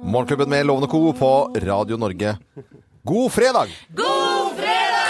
Morgenklubben med Lovende Co. på Radio Norge. God fredag! God fredag!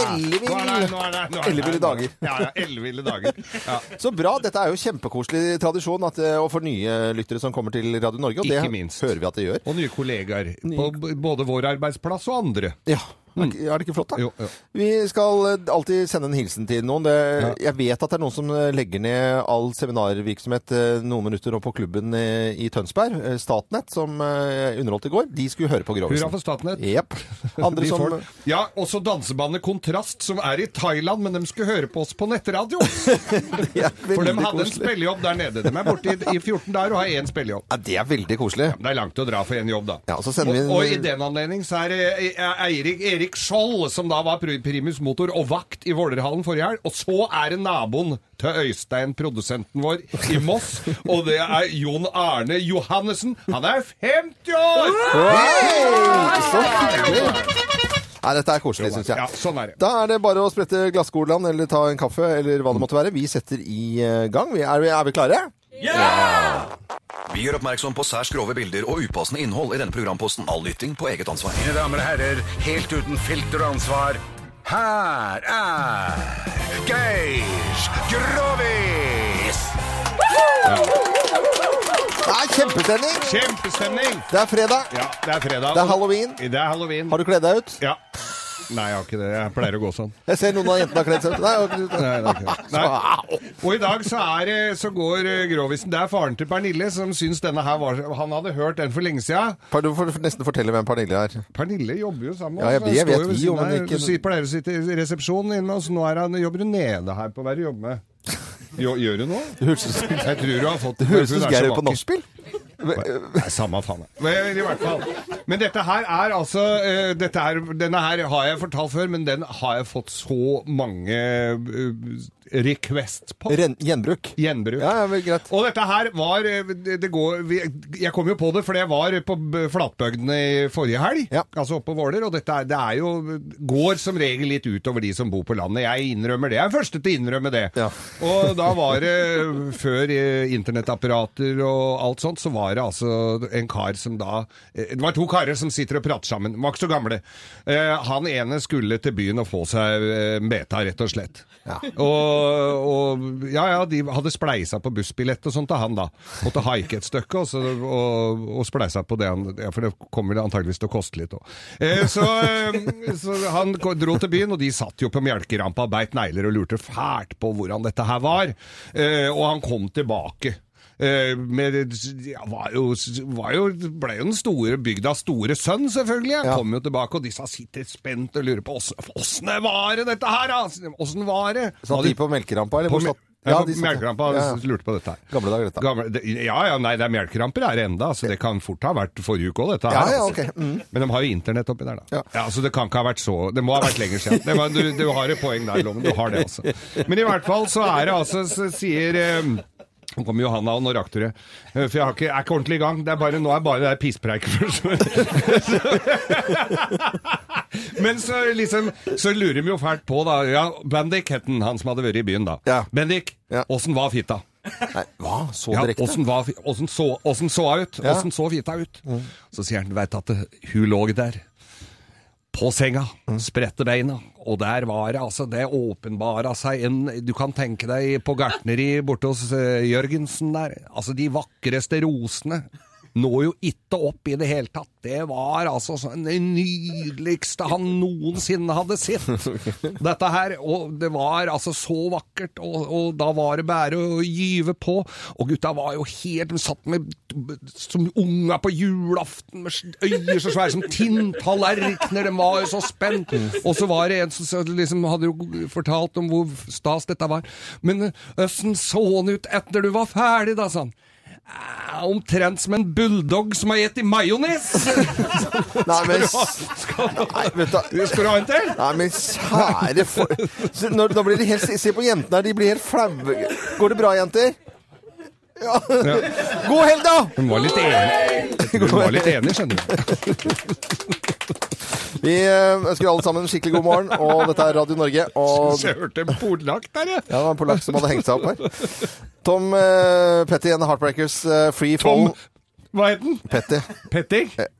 Ellevill Nå er det- nå er det- nå er det- Elleville dager. Ja, ja, elleville dager. Ja. Så bra. Dette er jo kjempekoselig tradisjon at, eh, og for nye lyttere som kommer til Radio Norge. Og Ikke det minst. hører vi at det gjør. Og nye kollegaer på b- både vår arbeidsplass og andre. Ja, er ikke- er det ikke flott, da? Jo, jo. Vi skal eh, alltid sende en hilsen til noen. Det, jeg vet at det er noen som eh, legger ned all seminarvirksomhet eh, noen minutter nå på klubben eh, i Tønsberg. eh, Statnett, som eh, underholdt i går. De skulle høre på Grovisen. Hurra for Statnett. Jepp. Andre De som får- Ja, også dansebandet Kontrast, som er i Thailand, men de skulle høre på oss på nettradio. Ja, For de veldig hadde en koselig. spillejobb der nede. De er borte i, i 14 dager og har én spillejobb. Ja, det er veldig koselig. Det er langt å dra for én jobb, da. Ja, så sender vi en- og, og i den anledning så er det eh, Eirik Erik Skjold, som da var pr- primus motor og vakt i Vålerhallen forrige helg. Og så er det naboen til Øystein, produsenten vår i Moss. Og det er Jon Arne Johannessen. Han er 50 år! Hei! Så hyggelig! Nei, dette er koselig, syns jeg. Ja, sånn er det. Da er det bare å sprette glasskolan eller ta en kaffe eller hva det måtte være. Vi setter i eh, gang. Vi er, vi, er vi klare? Vi gjør oppmerksom på særs grove bilder og upassende innhold i denne programposten. All lytting på eget ansvar. Mine damer og herrer, helt uten filter og ansvar, her er Geir Grovis! Det er kjempestemning! Kjempestemning! Det er fredag. Ja, det er fredag. Det er halloween. Det er halloween. Har du kledd deg ut? Ja. Nei, jeg har ikke det. Jeg pleier å gå sånn. Jeg ser noen av jentene har kledd seg ut. Nei, har ikke du- Nei, det er ikke det. Nei. Og i dag så, er, det- så går eh, Grovisen. Det er faren til Pernille som syns denne her var Han hadde hørt den for lenge siden. Par- Du får nesten fortelle hvem Pernille er. Pernille jobber jo sammen med Ja, jeg- oss, og jeg står vet ved vi, siden jo, men her. ikke- Du sier- pleier å sitte i resepsjonen inne med oss. Nå er han, jobber hun nede her på hva er det du jobber med. Jo, gjør hun nå? Det høres ut Jeg tror du har fått det høres ut hun som er så Geir på vakker. nachspiel. Nei, samme faen. jeg. Men, i hvert fall. men dette her er altså eh, dette er, Denne her har jeg fortalt før, men den har jeg fått så mange eh, request på. Ren- Gjenbruk. Gjenbruk. Ja, ja, vel, greit. Og dette her var eh, det går, vi- Jeg kom jo på det, for jeg var på b- flatbygdene i forrige helg. Ja. Altså oppe på Våler. Og dette er, det er jo, går som regel litt utover de som bor på landet. Jeg innrømmer det. Jeg er første til å innrømme det. Ja. Og da var det, før eh, internettapparater og alt sånt, så var det altså en kar som da eh, Det var to karer som sitter og prater sammen. De var ikke så gamle. Eh, Han ene skulle til byen og få seg eh, en beta, rett og slett. Og, og ja, ja, de hadde spleisa på bussbillett og sånt til han, da. Måtte haike et stykke og, så, og, og spleisa på det han ja, For det kommer vel antageligvis til å koste litt òg. Eh, så, eh, så han ko- dro til byen, og de satt jo på melkerampa og beit negler og lurte fælt på hvordan dette her var. Eh, og han kom tilbake. Eh, Med, ja, var jo, var jo, ble jo den store bygdas store sønn, selvfølgelig. Han Ja. kom jo tilbake, og disse sitter spent og lurer på åssen åssen var det dette her, da? Åssen var det? Satt de på melkerampa, eller? På hvor me- satt- Nei, Ja, på de satt- melkerampa Ja, ja. lurte på dette her. Gamle dager, dette. Gamle, det, ja, ja, nei, det er melkeramper her enda, så det kan fort ha vært forrige uke også, dette Ja, her. ja, altså. ok. Mm. Men de har jo internett oppi der, da. Ja. Ja. så det kan ikke ha vært så... Det må ha vært lenger siden. Det var, du, du har et poeng der, Loven, du har det altså. Men i hvert fall så er det altså, så sier... Um, nå kommer Johanna og når aktoret. Eh, For jeg har ikke, jeg er ikke ordentlig i gang. Det er bare, nå er bare det der pisspreiket først. Men så liksom, så lurer vi jo fælt på da. Ja, Bendik het han, han som hadde vært i byen da. Ja. Bendik, Ja. åssen var fitta? Nei, hva? Så Ja, direkte? åssen var fi- åssen så, åssen så hun ut? Ja. Åssen så fitta ut? Så sier han, veit at det- hun lå der. På senga, spredte beina, og der var det altså, det åpenbara seg en Du kan tenke deg på gartneri borte hos eh, Jørgensen der. Altså, de vakreste rosene når jo ikke opp i det hele tatt. Det var altså så- det nydeligste han noensinne hadde sett. Dette her, og det var altså så vakkert, og, og da var det bare å gyve på. Og gutta var jo helt De satt med som unga på julaften med øyer så svære som tinntallerkener. De var jo så spent. Og så var det en som så liksom hadde jo fortalt om hvor stas dette var. Men eh, åssen så han ut etter du var ferdig, da, sa han. «Eh, Omtrent som en bulldog som har spist majones! Nei, men, Skal du nei, vet du skal du ha en til? Nei, men kjære for... Se, Nå, nå blir det helt... Se på jentene her, de blir helt flaue. Går det bra, jenter? Ja. God helg, da! Hun var litt enig, hun var litt enig skjønner du. Vi eh, ønsker alle sammen en skikkelig god morgen, og dette er Radio Norge. Og Jeg hørte en polakk der, jeg. ja, det var en polakk som hadde hengt seg opp her. Tom eh, Petty and The Heartbreakers, eh, Free Fall. Hva het den? Petty. Petting?